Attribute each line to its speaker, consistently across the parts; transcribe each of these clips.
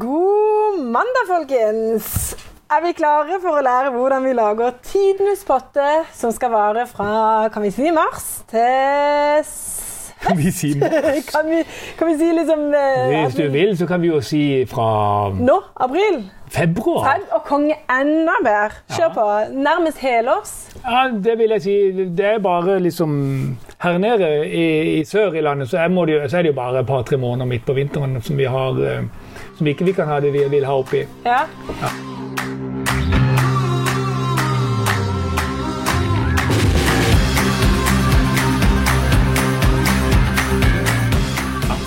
Speaker 1: God mandag, folkens! Er vi klare for å lære hvordan vi lager tidenes potte, som skal vare fra kan vi si mars til s-
Speaker 2: Kan vi si Hvis
Speaker 1: Kan vi, kan vi si liksom eh,
Speaker 2: du vil, så kan vi jo si fra
Speaker 1: Nå, april.
Speaker 2: februar.
Speaker 1: Fred og konge enda bedre. Kjør på. Nærmest helårs.
Speaker 2: Ja, det vil jeg si. Det er bare liksom Her nede i, i sør i landet så er, må det, jo- så er det jo bare et par-tre måneder midt på vinteren som vi har eh, som ikke vi kan ha det vi vil ha oppi.
Speaker 1: Ja.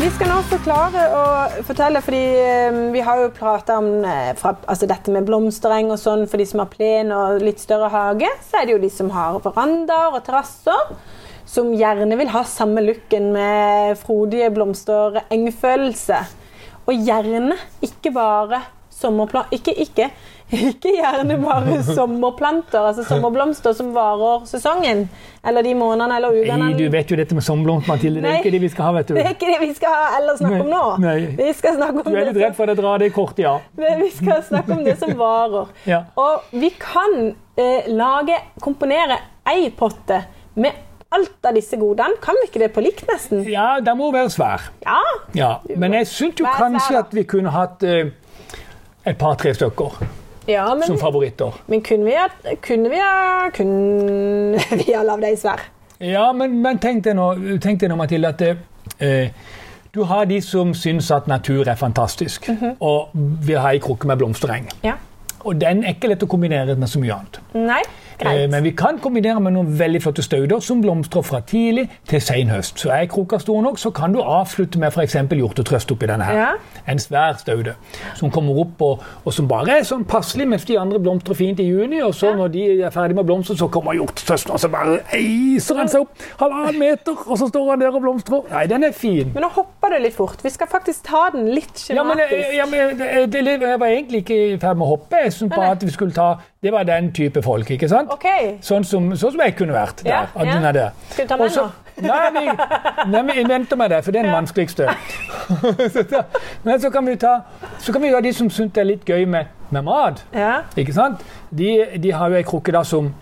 Speaker 1: Vi skal nå forklare og fortelle, fordi eh, vi har jo prata om eh, fra, altså dette med blomstereng og sånn for de som har plen og litt større hage. Så er det jo de som har verandaer og terrasser, som gjerne vil ha samme looken med frodige blomsterengfølelse. Og gjerne ikke bare sommerplanter Ikke, ikke. Ikke gjerne bare sommerplanter, altså sommerblomster som varer sesongen. Eller de månedene eller ukene.
Speaker 2: Nei, du vet jo dette med sommerblomst, Mathilde. Det er
Speaker 1: Nei.
Speaker 2: ikke det vi skal ha, vet du.
Speaker 1: Det er ikke det vi skal ha eller snakke om nå.
Speaker 2: Nei.
Speaker 1: Vi skal snakke om
Speaker 2: Du er litt
Speaker 1: det
Speaker 2: redd for at jeg drar det kortet, ja.
Speaker 1: som, vi skal snakke om det som varer.
Speaker 2: Ja.
Speaker 1: Og vi kan eh, lage, komponere ei potte med alt av disse godene. Kan vi ikke det på likt, nesten?
Speaker 2: Ja, den må være svær.
Speaker 1: Ja.
Speaker 2: Ja. Men jeg syns jo
Speaker 1: Vær svær, da.
Speaker 2: kanskje at vi kunne hatt eh, et par-tre stykker
Speaker 1: ja men,
Speaker 2: som favoritter.
Speaker 1: men kunne vi ha Kunne vi ha Kunne vi ha lagd ei svær?
Speaker 2: Ja, men, men tenk deg nå, tenk deg nå Mathilde, at eh, du har de som syns at natur er fantastisk, og vil ha ei krukke med blomstereng.
Speaker 1: Ja.
Speaker 2: Og den er ikke lett å kombinere med så mye annet.
Speaker 1: Nei?
Speaker 2: Eh,
Speaker 1: Greit.
Speaker 2: men vi kan kombinere med noen veldig flotte stauder som blomstrer fra tidlig til sen høst. Så er krukka stor nok, så kan du avslutte med f.eks. hjortetrøst oppi denne her.
Speaker 1: Ja.
Speaker 2: En svær staude som kommer opp og, og som bare er sånn passelig mens de andre blomstrer fint i juni. Og så
Speaker 1: Ja.
Speaker 2: når de er ferdig med blomster, så kommer hjortetrøsten og så bare eiser han seg opp halvannen meter, og så står han der og blomstrer. Nei, den er fin.
Speaker 1: Men nå hopper du litt fort. Vi skal faktisk ta den litt
Speaker 2: Ja, men,
Speaker 1: skjematisk.
Speaker 2: eh, ja, men eh, det, det, jeg var egentlig ikke i ferd med å hoppe. Jeg syntes
Speaker 1: Nei.
Speaker 2: bare at vi skulle ta Det var den type folk, ikke sant?
Speaker 1: OK.
Speaker 2: Sånn som, sånn som jeg kunne vært der.
Speaker 1: Ja,
Speaker 2: at
Speaker 1: ja.
Speaker 2: den er der.
Speaker 1: Skal vi ta med
Speaker 2: Og så-
Speaker 1: nå?
Speaker 2: Nei, vi, nei, vi venter med det, for det er den vanskeligste. Så da- Men så kan vi ta så kan vi ha de som syns det er litt gøy med, med mat.
Speaker 1: Ja.
Speaker 2: Ikke sant? De, de har jo ei krukke da som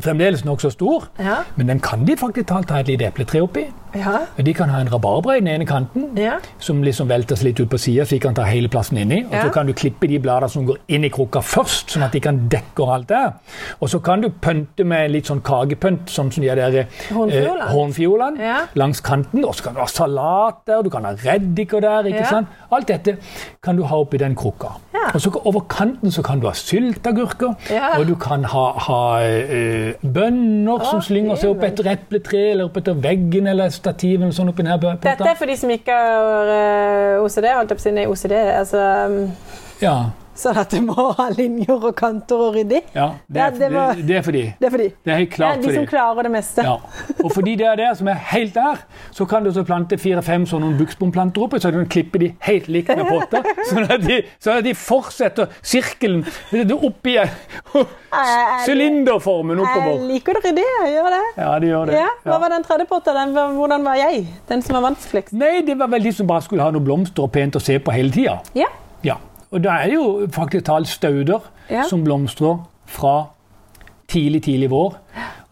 Speaker 2: fremdeles er nokså stor,
Speaker 1: Ja.
Speaker 2: men den kan de faktisk talt ha et lite epletre oppi.
Speaker 1: Ja.
Speaker 2: De kan ha en rabarbra i den ene kanten.
Speaker 1: ja.
Speaker 2: Som liksom velter seg litt ut på sida, så de kan ta hele plassen inni. Og
Speaker 1: Ja.
Speaker 2: så kan du klippe de bladene som går inn i krukka først, sånn at de kan dekke og alt der. Og så kan du pønte med litt sånn kagepynt, sånn som de der eh,
Speaker 1: Hornfiolene.
Speaker 2: hornfiolene
Speaker 1: Ja.
Speaker 2: langs kanten. Og så kan du ha salat der, og du kan ha reddiker der. ikke
Speaker 1: Ja.
Speaker 2: sant? Alt dette kan du ha oppi den krukka.
Speaker 1: Ja.
Speaker 2: Og så over kanten så kan du ha sylteagurker,
Speaker 1: Ja.
Speaker 2: og du kan ha, ha eh, bønner som
Speaker 1: Å,
Speaker 2: slynger seg opp
Speaker 1: himmel.
Speaker 2: etter epletre eller opp etter veggen eller stativet. eller sånn oppi denne bø-
Speaker 1: Dette er for de som ikke har eh, OCD. Holdt jeg på å si nei, OCD. Altså, um,
Speaker 2: Ja.
Speaker 1: sånn at det må ha linjer og kanter og ryddig.
Speaker 2: Ja, det er,
Speaker 1: Ja, det var-
Speaker 2: det, det er fordi.
Speaker 1: Det er for de.
Speaker 2: Det er helt
Speaker 1: Det
Speaker 2: klart
Speaker 1: er
Speaker 2: fordi.
Speaker 1: de som klarer det meste.
Speaker 2: Ja. Og fordi det er det som er helt der, så kan du så plante fire-fem sånne buksbomplanter oppi, så du kan klippe de helt likt med potter, sånn at de, sånn at de fortsetter sirkelen oppi eh,
Speaker 1: Jeg- jeg-
Speaker 2: sylinderformen
Speaker 1: Jeg
Speaker 2: oppover.
Speaker 1: liker det ryddig. Jeg gjør det.
Speaker 2: Ja, de gjør det.
Speaker 1: Ja, hva
Speaker 2: Ja.
Speaker 1: var den tredje potta? Den var- Hvordan var jeg? Den som var vanskeligst?
Speaker 2: Nei, det var vel de som bare skulle ha noen blomster og pent å se på hele tida.
Speaker 1: Ja.
Speaker 2: Ja. Og da er det jo faktisk talt stauder
Speaker 1: Ja.
Speaker 2: som blomstrer fra tidlig, tidlig vår.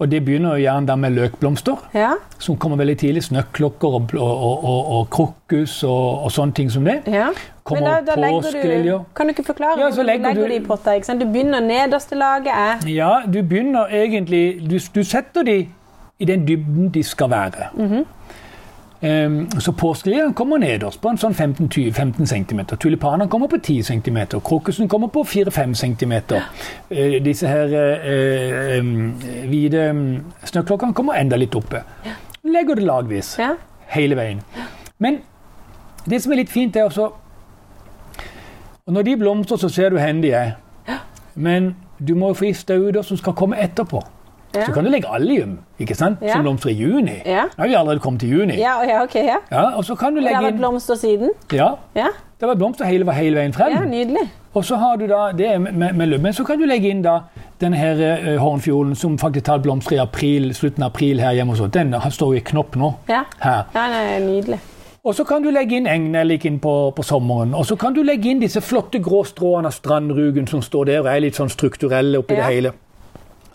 Speaker 2: Og det begynner jo gjerne da med løkblomster.
Speaker 1: Ja.
Speaker 2: som kommer veldig tidlig. Snøklokker og, og, og, og, og krokus og, og sånne ting som det.
Speaker 1: ja.
Speaker 2: Kommer
Speaker 1: legger
Speaker 2: påskeliljer.
Speaker 1: du Kan du ikke forklare
Speaker 2: Ja, så
Speaker 1: hvordan
Speaker 2: legger
Speaker 1: du legger
Speaker 2: du-
Speaker 1: de i potta? Ikke sant? Du begynner nederste laget eh. er
Speaker 2: Ja, du begynner egentlig Du, du setter de i den dybden de skal være.
Speaker 1: Mhm.
Speaker 2: Em, så påskeliljen kommer nederst på en sånn 15-15 cm. Tulipanene kommer på 10 cm. Krokusen kommer på 4-5 cm. Eh, disse her eh, eh, em, hvite em, snøklokkene kommer enda litt oppe. Legger det lagvis.
Speaker 1: ja.
Speaker 2: hele veien. Men det som er litt fint, er også og Når de blomstrer, så ser du hvor de er. Men du må jo få i stauder som skal komme etterpå.
Speaker 1: Ja.
Speaker 2: Så kan du legge allium, ikke sant?
Speaker 1: Ja.
Speaker 2: som blomstrer i juni.
Speaker 1: Ja.
Speaker 2: Da har vi allerede kommet til juni.
Speaker 1: Ja, ja, ok, ja.
Speaker 2: Ja, og så kan du
Speaker 1: Det har
Speaker 2: legge
Speaker 1: vært
Speaker 2: inn
Speaker 1: blomster siden.
Speaker 2: ja,
Speaker 1: Ja,
Speaker 2: Det var blomster hele, hele veien frem.
Speaker 1: ja nydelig.
Speaker 2: Og så har du da det med, med, med lømmen, så kan du legge inn da den her eh, hornfiolen som faktisk tar blomster i april, slutten av april her hjemme hos oss. Den har- står jo i knopp nå.
Speaker 1: Ja.
Speaker 2: her.
Speaker 1: Ja, nei, nydelig.
Speaker 2: Og så kan du legge inn engnellik inn på, på sommeren. Og så kan du legge inn disse flotte grå stråene av strandrugen som står der og er litt sånn strukturelle oppi
Speaker 1: Ja.
Speaker 2: det hele.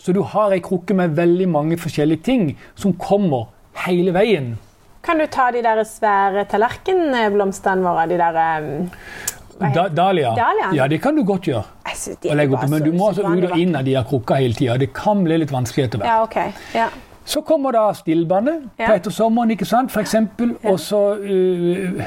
Speaker 2: Så du har ei krukke med veldig mange forskjellige ting som kommer hele veien.
Speaker 1: Kan du ta de der svære tallerkenblomstene våre? De der um, hva
Speaker 2: Da,
Speaker 1: heter-
Speaker 2: dahlia.
Speaker 1: Dahlia.
Speaker 2: Ja, det kan du godt gjøre.
Speaker 1: Jeg synes de
Speaker 2: å
Speaker 1: er
Speaker 2: legge
Speaker 1: bare
Speaker 2: opp, men
Speaker 1: så
Speaker 2: du må altså ut
Speaker 1: usedvanlig
Speaker 2: og inn av de her krukka hele tida. Det kan bli litt vanskelig etter hvert.
Speaker 1: vakre. Ja, OK. Ja.
Speaker 2: Så kommer da stillbandet
Speaker 1: Ja.
Speaker 2: på ettersommeren, ikke sant, for eksempel. Og så øh,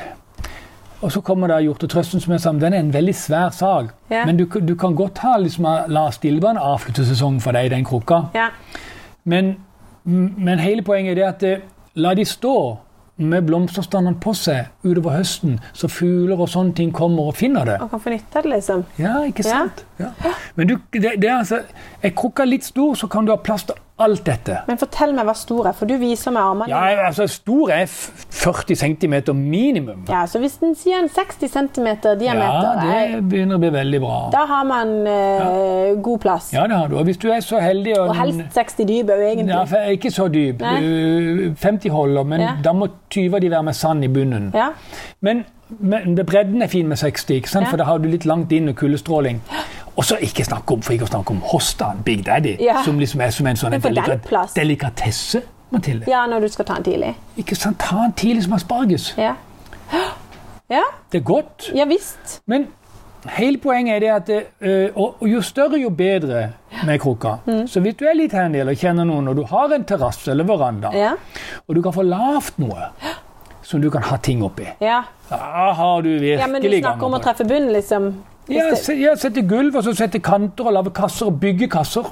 Speaker 2: og så kommer da hjortetrøsten, som jeg sa, men den er en veldig svær sag.
Speaker 1: Ja.
Speaker 2: Men du, kan- du kan godt ha, liksom, la stillbandet avslutte sesongen for deg i den krukka.
Speaker 1: ja.
Speaker 2: Men, men hele poenget er det at eh, la de stå med blomsterstandene på seg utover høsten, så fugler og sånne ting kommer og finner det.
Speaker 1: Og kan få nytte av det, liksom.
Speaker 2: Ja, ikke
Speaker 1: Ja.
Speaker 2: sant? Ja. Men du, det, det er altså, er krukka litt stor, så kan du ha plass til alt dette.
Speaker 1: Men fortell meg hva stor er, for du viser meg armene.
Speaker 2: Ja, altså Stor er f- 40 cm minimum.
Speaker 1: Ja, så hvis den sier en 60 cm diameter, nei,
Speaker 2: det begynner å bli veldig bra.
Speaker 1: da har man eh, god plass.
Speaker 2: Ja, det har du. Og hvis du er så heldig og,
Speaker 1: Og helst 60 dyp òg, egentlig.
Speaker 2: ja,
Speaker 1: Ja.
Speaker 2: for jeg er Ikke så dyp.
Speaker 1: Nei.
Speaker 2: Du- 50 holder, men
Speaker 1: Ja.
Speaker 2: da må 20 av de være med sand i bunnen. Men, men bredden er fin med 60, ikke sant?
Speaker 1: Ja.
Speaker 2: for da har du litt langt inn og kuldestråling. Og så ikke snakke om, for ikke å snakke om Hostan, Big Daddy,
Speaker 1: Ja.
Speaker 2: som liksom er som en sånn
Speaker 1: Men
Speaker 2: en
Speaker 1: for den
Speaker 2: delikat
Speaker 1: plass.
Speaker 2: delikatesse. Mathilde.
Speaker 1: ja, når du skal ta den tidlig.
Speaker 2: Ikke sant? Ta en tidlig som asparges.
Speaker 1: Ja. Ja,
Speaker 2: Det er godt.
Speaker 1: ja visst.
Speaker 2: Men hele poenget er det at eh, og, og jo større, jo bedre med krukka.
Speaker 1: Mm.
Speaker 2: Så hvis du er litt handy eller kjenner noen, og du har en terrasse eller veranda,
Speaker 1: Ja.
Speaker 2: og du kan få lavt noe som du kan ha ting oppi,
Speaker 1: Ja.
Speaker 2: da har du virkelig
Speaker 1: ja, men du snakker om å
Speaker 2: på.
Speaker 1: treffe bunnen, liksom. Hvis
Speaker 2: Ja,
Speaker 1: det-
Speaker 2: se, ja, sette gulv, og så sette kanter og lage kasser og bygge kasser.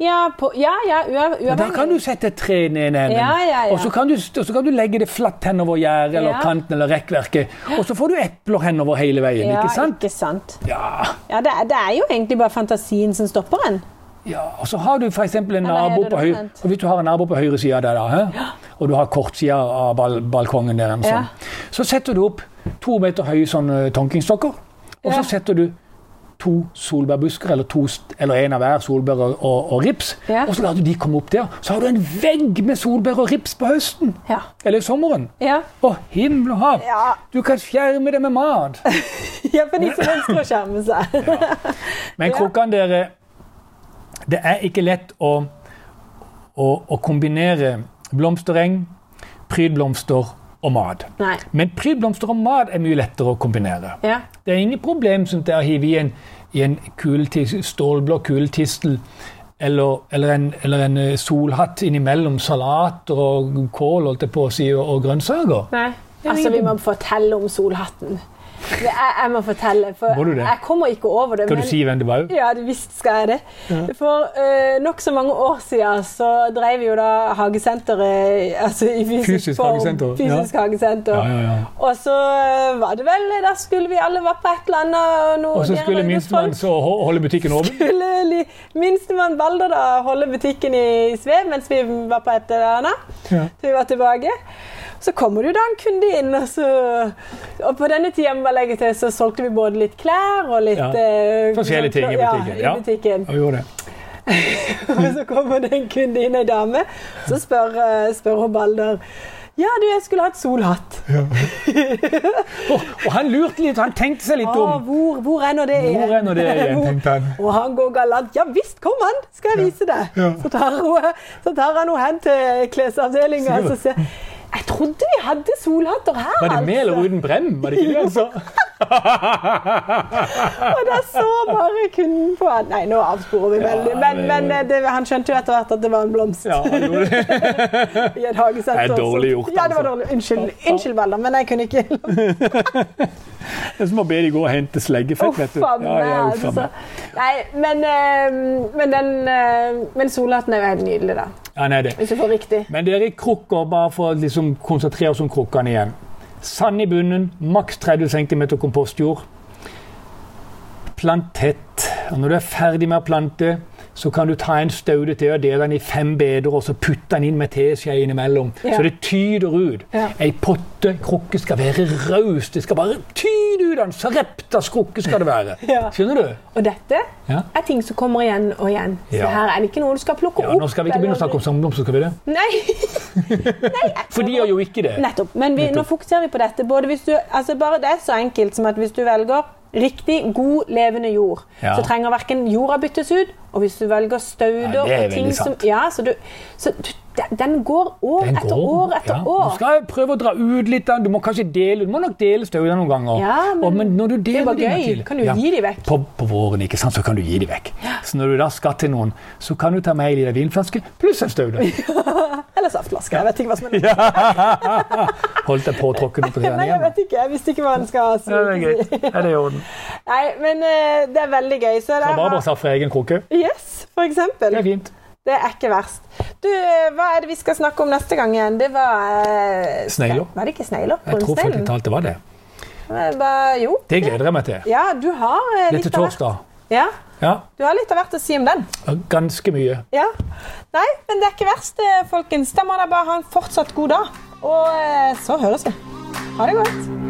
Speaker 1: Ja, på, ja, ja uav-
Speaker 2: Og da kan
Speaker 1: uavhengig.
Speaker 2: du sette et tre ned i en ende.
Speaker 1: Ja, ja, ja.
Speaker 2: Og så kan, du, og så kan du legge det flatt henover gjerdet eller
Speaker 1: Ja.
Speaker 2: kanten eller rekkverket. Og så får du epler henover hele veien,
Speaker 1: ja,
Speaker 2: ikke sant?
Speaker 1: Ikke sant?
Speaker 2: Ja,
Speaker 1: Ja, det er, det er jo egentlig bare fantasien som stopper en.
Speaker 2: ja. Og så har du f.eks. en
Speaker 1: er
Speaker 2: nabo
Speaker 1: det
Speaker 2: på høyre
Speaker 1: omvendt?
Speaker 2: og Hvis du har en nabo på høyre side der, da, hæ? og du har kortsida av bal balkongen der, en
Speaker 1: Ja.
Speaker 2: sånn. så setter du opp to meter høye sånne tonkingstokker, og
Speaker 1: Ja.
Speaker 2: så setter du to solbærbusker, eller, to, st- eller en av hver solbær og, og, og rips,
Speaker 1: Ja.
Speaker 2: og så lar du de komme opp der. Så har du en vegg med solbær og rips på høsten,
Speaker 1: Ja.
Speaker 2: eller sommeren.
Speaker 1: Ja,
Speaker 2: Å, himmel og hav!
Speaker 1: Ja.
Speaker 2: Du kan skjerme det med mat.
Speaker 1: ja for de som ønsker å skjerme seg.
Speaker 2: Men
Speaker 1: Ja.
Speaker 2: krukkene, dere Det er ikke lett å, å, å kombinere blomstereng, prydblomster og mat.
Speaker 1: Nei.
Speaker 2: Men prydblomster og mat er mye lettere å kombinere.
Speaker 1: Ja.
Speaker 2: Det er ingen problem som det er å hive i en, i en kuletis, stålblå kuletistel eller, eller, en, eller en eh, solhatt innimellom salater og kål holdt jeg på å si, og, og grønnsaker.
Speaker 1: Nei. Altså, vi må fortelle om solhatten. Jeg, jeg må fortelle, for
Speaker 2: Må du det?
Speaker 1: jeg kommer ikke over det.
Speaker 2: Skal du si hvem det var?
Speaker 1: Ja, det visst skal jeg det. For uh, nok så mange år siden så drev vi jo da hagesenteret altså i fysisk,
Speaker 2: Fysisk
Speaker 1: form.
Speaker 2: hagesenter, ja.
Speaker 1: Fysisk hagesenter.
Speaker 2: Ja, ja, ja.
Speaker 1: Og så eh, var det vel Der skulle vi alle være på et eller annet og noe
Speaker 2: Og så
Speaker 1: der
Speaker 2: skulle
Speaker 1: var det noe
Speaker 2: minstemann
Speaker 1: folk-
Speaker 2: så ho- holde butikken åpen.
Speaker 1: skulle li- Minstemann valgte da å holde butikken i svev mens vi var på et eller annet.
Speaker 2: Ja.
Speaker 1: Til vi var tilbake. Så kommer det jo da en kunde inn, og så Og på denne tida må jeg legge til, så solgte vi både litt klær og litt
Speaker 2: Ja.
Speaker 1: eh,
Speaker 2: Forskjellige ting i butikken,
Speaker 1: Ja,
Speaker 2: ja.
Speaker 1: i butikken.
Speaker 2: Og gjorde det.
Speaker 1: Og så kommer det en kunde inn, ei dame, så spør, eh, spør hun Balder Ja, du, jeg skulle hatt solhatt.
Speaker 2: Og, og han lurte litt, han tenkte seg
Speaker 1: Å,
Speaker 2: litt om.
Speaker 1: hvor, hvor er nå det igjen?
Speaker 2: Hvor er nå det igjen, tenkte han.
Speaker 1: Og han går galant. Ja visst, kom han, skal jeg vise deg. Så, tar hun, så tar han henne hen til klesavdelinga og så sier Jeg trodde vi hadde solhatter her, altså.
Speaker 2: Var det med eller uten brem? Var det ikke det altså? han sa?
Speaker 1: Og da så bare kunden på han. Nei, nå avsporer vi veldig, men,
Speaker 2: det
Speaker 1: men eh, det, han skjønte jo etter hvert at det var en blomst
Speaker 2: Ja, han gjorde det.
Speaker 1: i et hagesenter.
Speaker 2: Det er dårlig gjort,
Speaker 1: Ja, det var
Speaker 2: altså.
Speaker 1: dårlig. Unnskyld, unnskyld Balder, men jeg kunne ikke
Speaker 2: Det er som å be de gå og hente sleggefett, vet
Speaker 1: Uff
Speaker 2: du.
Speaker 1: a meg,
Speaker 2: Ja, ja, uff a
Speaker 1: altså.
Speaker 2: meg.
Speaker 1: Nei, men, eh, men den eh, Men solhatten er jo helt nydelig, da.
Speaker 2: Ja, nei, det.
Speaker 1: Hvis du får riktig.
Speaker 2: Men dere i krukker, bare for å liksom konsentrere oss om krukkene igjen. Sand i bunnen, maks 30 cm kompostjord. Plantett. Og når du er ferdig med å plante, Så kan du ta en staude til og dele den i fem beder og så putte den inn med teskje innimellom.
Speaker 1: Ja.
Speaker 2: Så det tyder ut.
Speaker 1: Ja.
Speaker 2: Ei pottekrukke skal være raus. Det skal bare tyde ut en sareptas krukke skal det være.
Speaker 1: Ja.
Speaker 2: Skjønner du?
Speaker 1: Og dette
Speaker 2: Ja.
Speaker 1: er ting som kommer igjen og igjen. Så
Speaker 2: Ja.
Speaker 1: her er det ikke noe du skal plukke
Speaker 2: Ja,
Speaker 1: opp.
Speaker 2: nå skal vi ikke begynne å snakke om samleblomst, skal vi det?
Speaker 1: Nei,
Speaker 2: For de gjør jo ikke det.
Speaker 1: nettopp. Men vi, nå fokuserer vi på dette. Både hvis du, altså bare det er så enkelt som at hvis du velger riktig, god, levende jord,
Speaker 2: Ja.
Speaker 1: så trenger verken jorda byttes ut, og hvis du velger stauder
Speaker 2: Ja, det er
Speaker 1: og ting
Speaker 2: veldig
Speaker 1: som
Speaker 2: sant.
Speaker 1: Ja, så du, så du den- Den går år
Speaker 2: Den
Speaker 1: etter
Speaker 2: går-
Speaker 1: år etter
Speaker 2: ja.
Speaker 1: år.
Speaker 2: Du skal prøve å dra ut litt, da. du må kanskje dele, du må nok dele støvlene noen ganger.
Speaker 1: Ja, men
Speaker 2: Og- når du
Speaker 1: er
Speaker 2: deler
Speaker 1: bare
Speaker 2: dine
Speaker 1: gøy.
Speaker 2: til-
Speaker 1: Kan du gi de vekk?
Speaker 2: På, på våren ikke sant, så kan du gi de vekk. Så når du da skal til noen, så kan du ta med en liten vinflaske pluss en støvle.
Speaker 1: Eller saftlaske. Jeg vet ikke hva som er lov.
Speaker 2: Holdt deg påtråkken opp på den
Speaker 1: Nei, jeg
Speaker 2: igjen.
Speaker 1: vet ikke. Jeg visste ikke hva en skal ha.
Speaker 2: Ja, det er
Speaker 1: så-
Speaker 2: greit. Ja, det er i orden.
Speaker 1: Nei, men eh, det er veldig gøy. Så det
Speaker 2: Rabarbra
Speaker 1: er,
Speaker 2: sa fra egen krukke.
Speaker 1: yes, for eksempel.
Speaker 2: Det er fint.
Speaker 1: Det er ikke verst. Du, eh, hva er det vi skal snakke om neste gang igjen? Det var eh,
Speaker 2: Snegler.
Speaker 1: Var det ikke snegler?
Speaker 2: Jeg tror faktisk
Speaker 1: Brunsteinen?
Speaker 2: talt det var det.
Speaker 1: Eh, hva- Jo.
Speaker 2: Det gleder jeg meg til.
Speaker 1: Ja, du har eh,
Speaker 2: Det er
Speaker 1: litt
Speaker 2: til
Speaker 1: av hvert.
Speaker 2: torsdag.
Speaker 1: Ja,
Speaker 2: Ja,
Speaker 1: du har litt av hvert å si om den.
Speaker 2: ganske mye.
Speaker 1: Ja. Nei, men det er ikke verst, eh, folkens. Da må dere bare ha en fortsatt god dag. Og eh, så høres vi. Ha det godt.